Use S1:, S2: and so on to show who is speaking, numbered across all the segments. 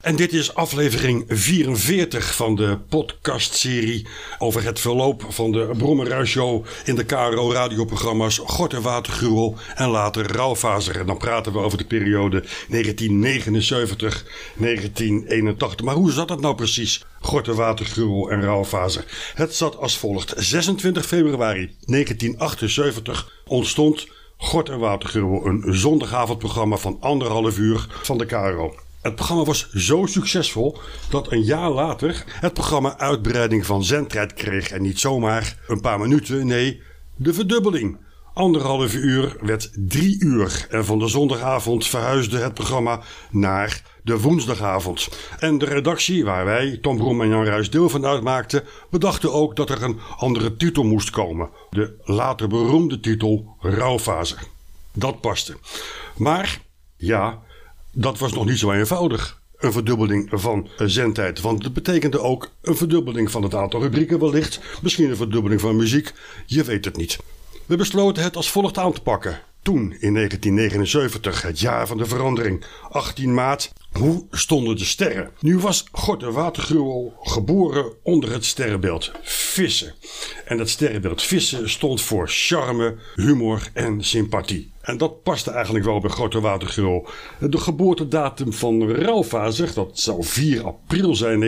S1: En dit is aflevering 44 van de podcastserie over het verloop van de Brommerui-show in de KRO-radioprogramma's Gorte Watergruwel en later Rauwfazer. En dan praten we over de periode 1979-1981. Maar hoe zat dat nou precies, Gorte Watergruwel en Rauwfazer? Het zat als volgt. 26 februari 1978 ontstond Gort en Watergruwel, een zondagavondprogramma van anderhalf uur van de KRO. Het programma was zo succesvol dat een jaar later het programma uitbreiding van zendtijd kreeg. En niet zomaar een paar minuten, nee, de verdubbeling. Anderhalf uur werd drie uur. En van de zondagavond verhuisde het programma naar de woensdagavond. En de redactie, waar wij, Tom Broem en Jan Ruijs, deel van uitmaakten, bedachten ook dat er een andere titel moest komen. De later beroemde titel Rauwfase. Dat paste. Maar, ja, dat was nog niet zo eenvoudig. Een verdubbeling van eh, zendtijd. Want het betekende ook een verdubbeling van het aantal rubrieken wellicht. Misschien een verdubbeling van muziek. Je weet het niet. We besloten het als volgt aan te pakken. Toen, in 1979, het jaar van de verandering, 18 maart, hoe stonden de sterren? Nu was God de Watergruwel geboren onder het sterrenbeeld Vissen. En dat sterrenbeeld Vissen stond voor charme, humor en sympathie. En dat paste eigenlijk wel bij Grote Watergul. De geboortedatum van Ralfa, zegt dat zou 4 april zijn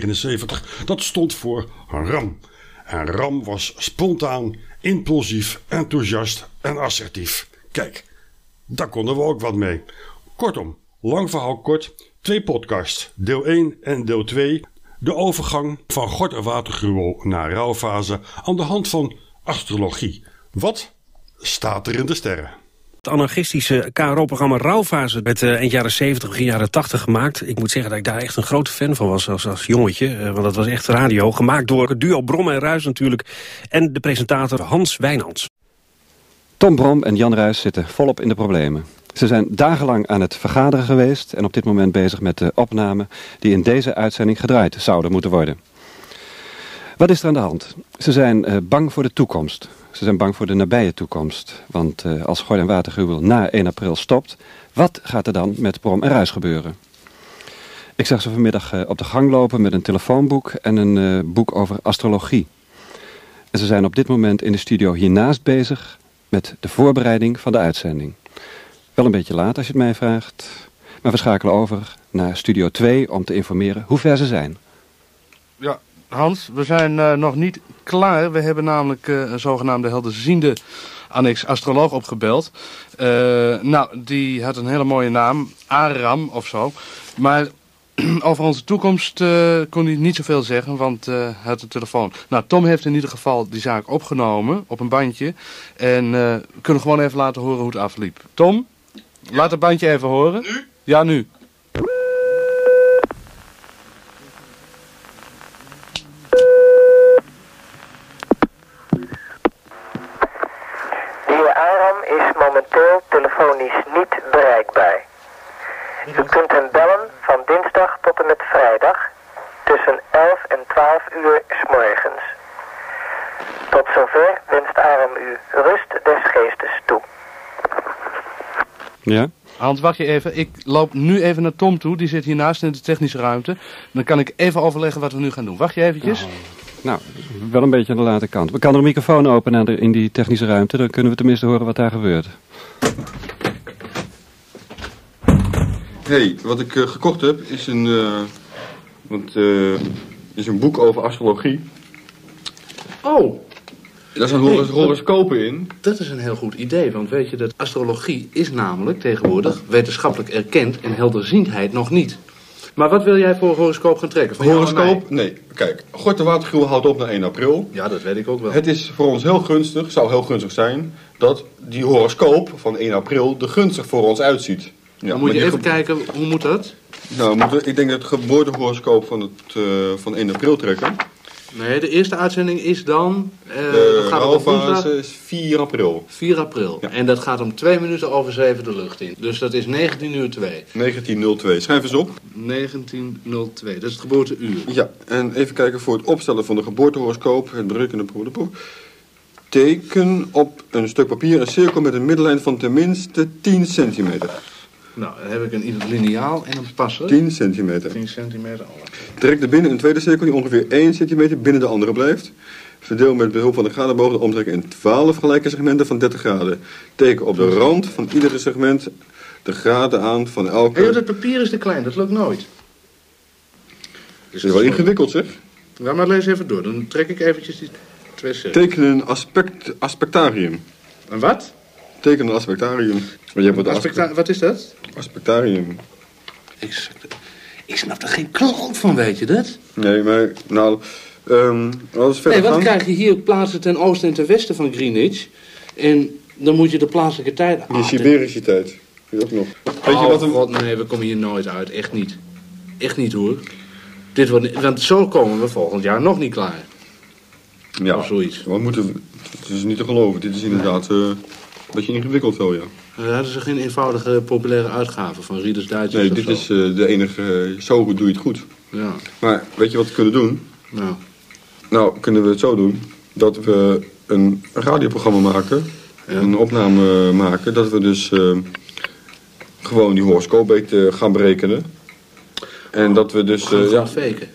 S1: 1979. Dat stond voor Ram. En Ram was spontaan, impulsief, enthousiast en assertief. Kijk, daar konden we ook wat mee. Kortom, lang verhaal kort, twee podcasts, deel 1 en deel 2. De overgang van Gort en Watergruwel naar rouwfase aan de hand van astrologie. Wat staat er in de sterren?
S2: Het anarchistische KRO-programma Rauwfase werd eh, eind jaren 70, begin jaren 80 gemaakt. Ik moet zeggen dat ik daar echt een grote fan van was als, als jongetje. eh, want dat was echt radio. Gemaakt door het duo Brom en Ruis natuurlijk. En de presentator Hans Wijnands.
S3: Tom Brom en Jan Ruijs zitten volop in de problemen. Ze zijn dagenlang aan het vergaderen geweest en op dit moment bezig met de opnamen die in deze uitzending gedraaid zouden moeten worden. Wat is er aan de hand? Ze zijn eh, bang voor de toekomst. Ze zijn bang voor de nabije toekomst. Want eh, als Gooi en Watergruwel na 1 april stopt, wat gaat er dan met Brom en Ruijs gebeuren? Ik zag ze vanmiddag eh, op de gang lopen met een telefoonboek en een eh, boek over astrologie. En ze zijn op dit moment in de studio hiernaast bezig met de voorbereiding van de uitzending. Wel een beetje laat als je het mij vraagt. Maar we schakelen over naar Studio 2 om te informeren hoe ver ze zijn.
S4: Ja, Hans, we zijn eh, nog niet klaar. We hebben namelijk eh, een zogenaamde helderziende annex astroloog opgebeld. Eh, nou, die had een hele mooie naam, Aram of zo. Maar over onze toekomst eh, kon hij niet zoveel zeggen, want eh, hij had een telefoon. Nou, Tom heeft in ieder geval die zaak opgenomen op een bandje. En eh, we kunnen gewoon even laten horen hoe het afliep. Tom, laat het bandje even horen. Nu? Ja, nu.
S5: De heer Aram is momenteel telefonisch niet bereikbaar. U kunt hem bellen van dinsdag tot en met vrijdag tussen 11 en 12 uur s morgens. Tot zover wenst Aram u rust des geestes toe.
S3: Ja?
S4: Hans, wacht je even. Ik loop nu even naar Tom toe. Die zit hiernaast in de technische ruimte. Dan kan ik even overleggen wat we nu gaan doen. Wacht je eventjes.
S3: Nou, wel een beetje aan de late kant. We kunnen de microfoon openen aan de- in die technische ruimte. Dan kunnen we tenminste horen wat daar gebeurt.
S6: hey, wat ik eh, gekocht heb is een, eh, want, eh, is een boek over astrologie.
S7: Oh,
S6: Daar staan
S7: Hey,
S6: horos- horoscopen in.
S7: dat is een heel goed idee, want weet je dat astrologie is namelijk tegenwoordig wetenschappelijk erkend en helderziendheid nog niet. Maar wat wil jij voor een horoscoop gaan trekken? Van jou en mij?
S6: Horoscoop? Nee, kijk. Gort de Watergruwel houdt op na 1 april.
S7: Ja, dat weet ik ook wel.
S6: Het is voor ons heel gunstig, zou heel gunstig zijn, dat die horoscoop van 1 april er gunstig voor ons uitziet. Ja,
S7: Dan
S6: maar
S7: moet je
S6: die
S7: even
S6: ge-
S7: kijken, hoe moet dat?
S6: Nou, moeten we- ik denk dat het geboortehoroscoop van, het, eh, van 1 april trekken.
S7: Nee, de eerste uitzending is dan, eh
S6: de
S7: dat gaat op woensdag
S6: rouwfase is 4 april.
S7: 4 april.
S6: Ja.
S7: En dat gaat om 2 minuten over 7 de lucht in. Dus dat is 19 uur 2.
S6: 1902. Schrijf eens op.
S7: 1902, dat is het geboorteuur.
S6: Ja, en even kijken voor het opstellen van de geboortehoroscoop, het berekenen broederboek. Teken op een stuk papier een cirkel met een middellijn van tenminste 10 centimeter.
S7: Nou, dan heb ik een lineaal en een passer. 10,
S6: 10 centimeter.
S7: centimeter. alle.
S6: Trek er binnen een tweede cirkel die ongeveer 1 centimeter binnen de andere blijft. Verdeel met behulp van de gradenboog de omtrek in 12 gelijke segmenten van 30 graden. Teken op de rand van iedere segment de graden aan van elke...
S7: Hey, joh, dat papier is te klein, dat lukt nooit.
S6: Dat is wel ingewikkeld zeg.
S7: Laat maar lees even door, dan trek ik eventjes die twee cirkels.
S6: Teken een aspect, aspectarium.
S7: Een wat?
S6: Teken een aspectarium. Maar je hebt wat
S7: Aspecta- wat is dat?
S6: aspe- aspectarium.
S7: Ik, ik snap er geen kloot van, weet je dat?
S6: Nee, maar nou... ehm alles verder
S7: Nee, wat
S6: gaan.
S7: krijg je hier plaatsen ten oosten en ten westen van Greenwich? En dan moet je de plaatselijke tijd...
S6: Die
S7: Ah,
S6: Siberische tijd. Heb je ook nog.
S7: dit-
S6: Weet je wat
S7: Oh,
S6: een...
S7: god, nee, we komen hier nooit uit. Echt niet. Echt niet, hoor. Dit wordt, niet- want zo komen we volgend jaar nog niet klaar.
S6: Ja,
S7: Of oh, zoiets.
S6: Wat moeten we... Het is niet te geloven. Dit is inderdaad eh, een beetje ingewikkeld wel, ja.
S7: Nou, Daar hadden ze geen eenvoudige populaire uitgave van Reader's Digest
S6: Nee,
S7: of
S6: dit
S7: zo.
S6: is eh, de enige... eh, zo doe je het goed.
S7: Ja,
S6: Maar weet je wat we kunnen doen?
S7: nou.
S6: Nou, kunnen we het zo doen dat we een radioprogramma maken. Een opname eh, maken. Dat we dus eh, gewoon die horoscoop eh, gaan berekenen. En dat we dus...
S7: Gaan we
S6: eh, ja,
S7: gaan faken.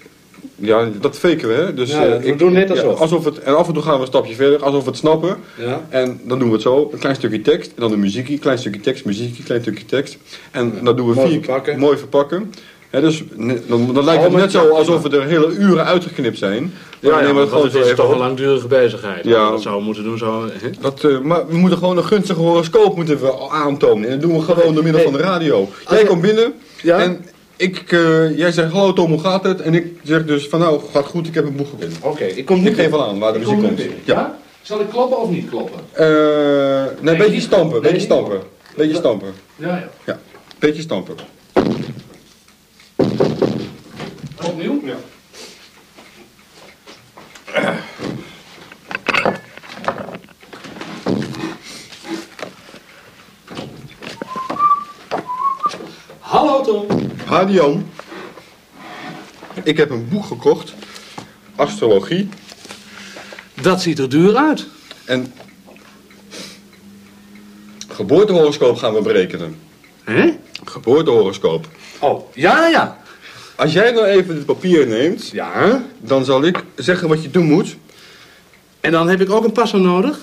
S6: ja, dat faken we, hè? Dus,
S7: Ja,
S6: eh,
S7: we doen net alsof.
S6: alsof het, en af en toe gaan we een stapje verder, alsof we het snappen.
S7: Ja.
S6: En dan doen we het zo, een klein stukje tekst, en dan de muziekje, klein stukje tekst, muziekje, klein stukje tekst. En dat doen we
S7: Mooi
S6: vier
S7: verpakken.
S6: mooi verpakken. Hè, dus ne- dan, dan lijkt
S7: Oh,
S6: het
S7: maar
S6: net
S7: ja,
S6: zo alsof we er hele uren uitgeknipt zijn. Maar dan nemen we het gewoon
S7: want
S6: zo
S7: het is dus
S6: even
S7: toch
S6: op.
S7: een langdurige bezigheid.
S6: Ja.
S7: Dat zouden we moeten doen zo... hè?
S6: Dat, eh, maar we moeten gewoon een gunstige horoscoop moeten we al aantonen. En dat doen we gewoon door middel van de radio. Jij
S7: je-
S6: komt binnen
S7: Ja?
S6: en ik, eh, jij zegt hallo Tom, hoe gaat het? En ik zeg dus van nou, gaat goed, ik heb een boek gevonden.
S7: Oké, ik kom nu
S6: Ik geef wel aan waar de muziek komt.
S7: Ja? Zal ik kloppen of niet kloppen?
S6: Eh, nee,
S7: Nee,
S6: beetje
S7: die-
S6: stampen,
S7: nee,
S6: beetje
S7: die-
S6: stampen. Beetje stampen.
S7: Ja, ja.
S6: Ja, beetje stampen.
S7: Opnieuw?
S6: Ja.
S7: Hallo Tom.
S6: Hadi Jan, ik heb een boek gekocht, astrologie,
S7: Dat ziet er duur uit.
S6: en geboortehoroscoop gaan we berekenen.
S7: Hè?
S6: Geboortehoroscoop.
S7: Oh, ja, ja.
S6: Als jij nou even het papier neemt,
S7: Ja.
S6: dan zal ik zeggen wat je doen moet.
S7: En dan heb ik ook een passer nodig.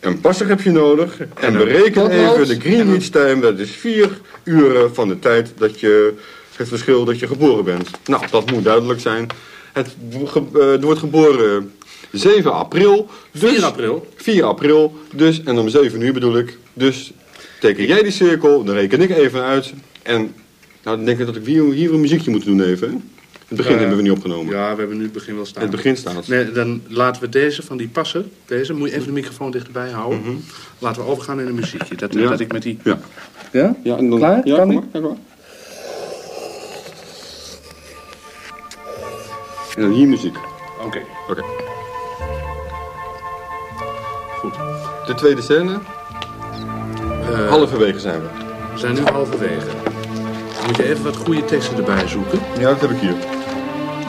S6: Een passer heb je nodig en bereken
S7: potlood.
S6: even de Greenwich time. Dat is vier uren van de tijd dat je het verschil dat je geboren bent. Nou, dat moet duidelijk zijn. Het ge- eh, er wordt geboren 7 april. Dus
S7: 4 april.
S6: 4 april, dus en om 7 uur bedoel ik. Dus teken jij die cirkel, dan reken ik even uit. En nou, dan denk ik dat ik hier, hier een muziekje moet doen even. hè? Het begin
S7: Eh,
S6: hebben we niet opgenomen.
S7: Ja, we hebben nu het begin wel staan.
S6: Het begin staat.
S7: Nee, dan laten we deze van die passer, deze, moet je even de microfoon dichterbij houden. Laten we overgaan in een muziekje. Dat,
S6: Mhm. Ja.
S7: dat ik met die...
S6: Ja.
S7: Ja?
S6: Ja, en dan,
S7: Klaar?
S6: Ja,
S7: Kan
S6: kom
S7: ik?
S6: maar, ja, kom maar. En dan hier muziek.
S7: Oké.
S6: Oké.
S7: Goed.
S6: De tweede scène,
S7: Eh,
S6: halverwege zijn we.
S7: we zijn nu halverwege. Dan moet je even wat goede teksten erbij zoeken.
S6: Ja, dat heb ik hier.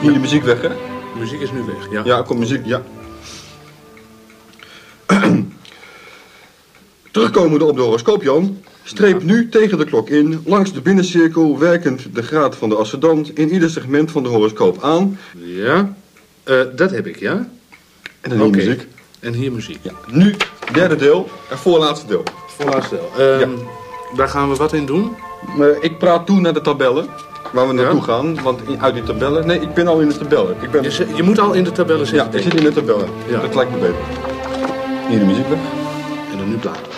S6: Hier de muziek weg, hè?
S7: De muziek is nu weg, ja.
S6: Ja, kom muziek, ja. Terugkomende op de horoscoop, Jan. Streep nu tegen de klok in, langs de binnencirkel, werkend de graad van de ascendant in ieder segment van de horoscoop aan.
S7: Ja. Eh, dat heb ik, ja.
S6: En dan die
S7: Oké.
S6: muziek.
S7: En hier muziek. Ja.
S6: Nu, derde deel en voorlaatste deel.
S7: Voorlaatste deel. Ehm, Daar gaan we wat in doen.
S6: Eh, ik praat toe naar de tabellen, waar we naartoe
S7: Ja?
S6: gaan, want in- uit die tabellen... Nee, ik ben al in de tabellen. Ik ben...
S7: Je, zit- je moet al in de tabellen zitten.
S6: Ja, ik
S7: denk
S6: zit
S7: ik.
S6: in de tabellen.
S7: Ja.
S6: Dat lijkt me beter. Hier de muziek weg.
S7: En dan nu bladeren.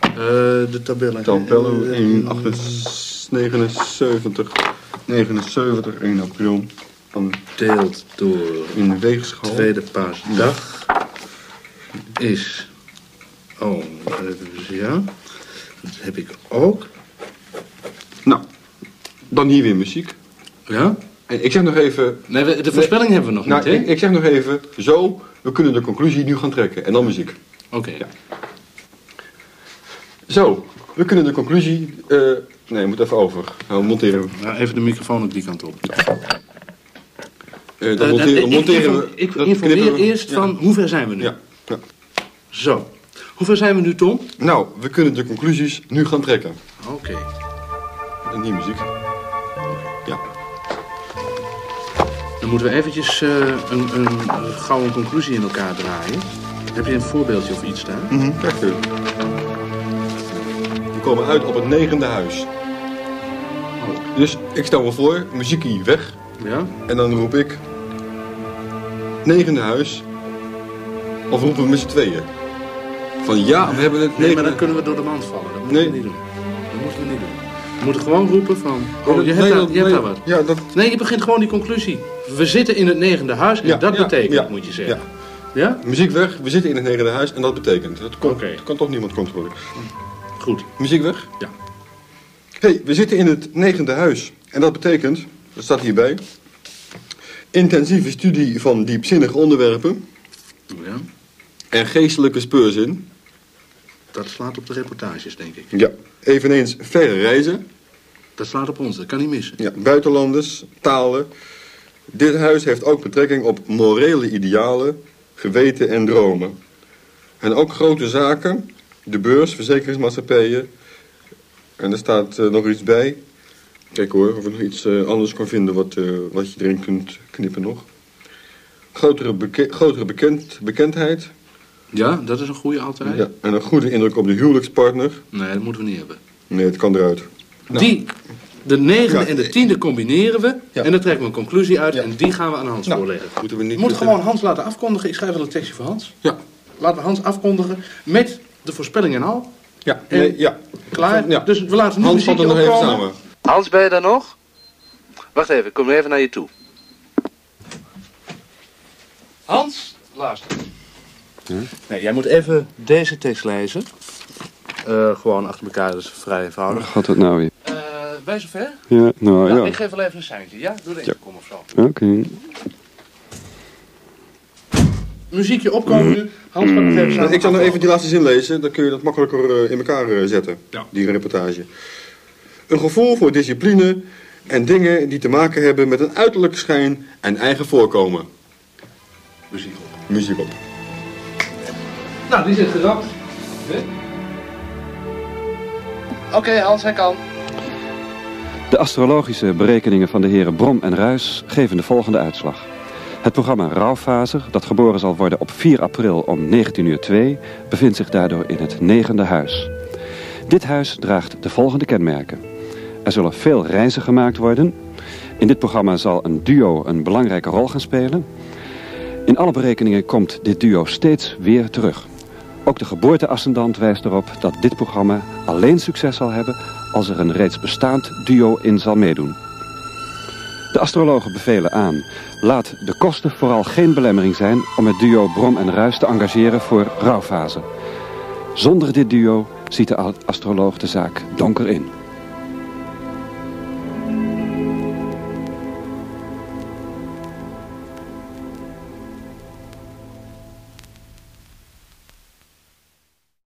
S7: Eh, de tabellen.
S6: Tabello
S7: Eh,
S6: 1, 79, 79, 1 april. Van
S7: Deelt door
S6: in weegschaal.
S7: tweede paasdag is... Oh, eh, ja. Dat heb ik ook.
S6: Nou, dan hier weer muziek.
S7: Ja?
S6: En ik zeg nog even...
S7: Nee, we- de voorspelling hebben we nog
S6: Nou,
S7: niet, hè?
S6: ik, ik zeg nog even, zo, we kunnen de conclusie nu gaan trekken. En dan muziek.
S7: Oké.
S6: Ja. Zo, we kunnen de conclusie... eh nee, moet even over. Nou, monteren we.
S7: Nou, even de microfoon op die kant op.
S6: Eh,
S7: Eh,
S6: dan monteren,
S7: eh, ik
S6: monteren
S7: info-
S6: we.
S7: Ik
S6: dat
S7: informeer
S6: knippen we.
S7: eerst
S6: Ja.
S7: van hoe ver zijn we nu.
S6: Ja, ja.
S7: Zo. Hoeveel zijn we nu, Tom?
S6: Nou, we kunnen de conclusies nu gaan trekken.
S7: Oké.
S6: En die muziek. Ja.
S7: Dan moeten we eventjes eh, een, een, een gouden conclusie in elkaar draaien. Heb je een voorbeeldje of iets daar?
S6: Kijk weer. We komen uit op het negende huis. Dus ik stel me voor, muziek hier weg.
S7: Ja?
S6: En dan roep ik... Negende huis. Of roepen we met z'n tweeën? Van ja, we hebben het
S7: Nee,
S6: negende...
S7: maar dan kunnen we door de mand vallen. Dat moeten
S6: Nee.
S7: we niet doen. Dat moeten we niet doen. We moeten gewoon roepen van... Oh, je
S6: Nee,
S7: hebt, daar,
S6: dat-
S7: je hebt
S6: nee,
S7: daar wat.
S6: Ja, dat...
S7: Nee, je begint gewoon die conclusie. We zitten in het negende huis en
S6: Ja,
S7: dat
S6: ja,
S7: betekent,
S6: ja,
S7: moet je zeggen. Ja?
S6: Muziek weg, we zitten in het negende huis en dat betekent. Dat kon,
S7: Oké.
S6: dat kan toch niemand controleren.
S7: Goed.
S6: Muziek weg?
S7: Ja.
S6: hey, we zitten in het negende huis. En dat betekent, dat staat hierbij... intensieve studie van diepzinnige onderwerpen...
S7: Ja,
S6: en geestelijke speurzin.
S7: dat slaat op de reportages, denk ik.
S6: Ja. Eveneens verre reizen.
S7: Dat slaat op ons, Dus dat kan niet missen.
S6: Ja. Buitenlanders, talen. Dit huis heeft ook betrekking op morele idealen, geweten en dromen. En ook grote zaken, de beurs, verzekeringsmaatschappijen. En er staat eh, nog iets bij. Kijk hoor, of ik nog iets eh, anders kan vinden wat, eh, wat je erin kunt knippen nog. Grotere, beke- grotere bekend, bekendheid.
S7: Ja, dat is een goede altijd.
S6: Ja. En een goede indruk op de huwelijkspartner.
S7: Nee, dat moeten we niet hebben.
S6: Nee, het kan eruit.
S7: Die, de negende
S6: Nou. Ja.
S7: en de tiende combineren we.
S6: Ja.
S7: En dan trekken we een conclusie uit
S6: Ja.
S7: en die gaan we aan Hans
S6: Nou,
S7: voorleggen.
S6: moeten we niet
S7: moet
S6: moeten-
S7: gewoon Hans laten afkondigen. Ik schrijf wel een tekstje voor Hans.
S6: Ja.
S7: Laten we Hans afkondigen met de voorspelling en al.
S6: Ja.
S7: En-
S6: Nee, ja.
S7: Klaar?
S6: Ja.
S7: Dus we laten nu
S6: Hans vat
S7: muziekje
S6: het nog even
S7: opkomen.
S6: samen.
S7: Hans, ben je daar nog? Wacht even, ik kom nu even naar je toe. Hans, luister.
S6: Hm?
S7: Nee, jij moet even deze tekst lezen. Eh, gewoon achter elkaar, dat is vrij eenvoudig.
S3: Gaat het nou weer?
S7: Eh ben je zover?
S3: Ja, nou
S7: Nou,
S3: ja.
S7: Ik geef wel even een seintje, ja? Doe de intercom of zo.
S3: Oké.
S7: Muziekje opkomen nu. Hans gaat nog even samen.
S6: Hm. Dus Ik zal
S7: afkomen.
S6: nog even die laatste zin lezen, dan kun je dat makkelijker eh, in elkaar eh, zetten,
S7: Ja.
S6: die reportage. Een gevoel voor discipline en dingen die te maken hebben met een uiterlijk schijn en eigen voorkomen.
S7: muziek op.
S6: Muziek op.
S7: Nou, die zit gerapt. Hè? Oké, Hans, hij kan.
S3: De astrologische berekeningen van de heren Brom en Ruis geven de volgende uitslag. Het programma Rauwfaser, dat geboren zal worden op 4 april om 19.02 uur, bevindt zich daardoor in het negende huis. Dit huis draagt de volgende kenmerken. Er zullen veel reizen gemaakt worden. In dit programma zal een duo een belangrijke rol gaan spelen. In alle berekeningen komt dit duo steeds weer terug. Ook de geboorteascendant wijst erop dat dit programma alleen succes zal hebben als er een reeds bestaand duo in zal meedoen. De astrologen bevelen aan, laat de kosten vooral geen belemmering zijn om het duo Brom en Ruis te engageren voor rouwfase. Zonder dit duo ziet de astroloog de zaak donker in.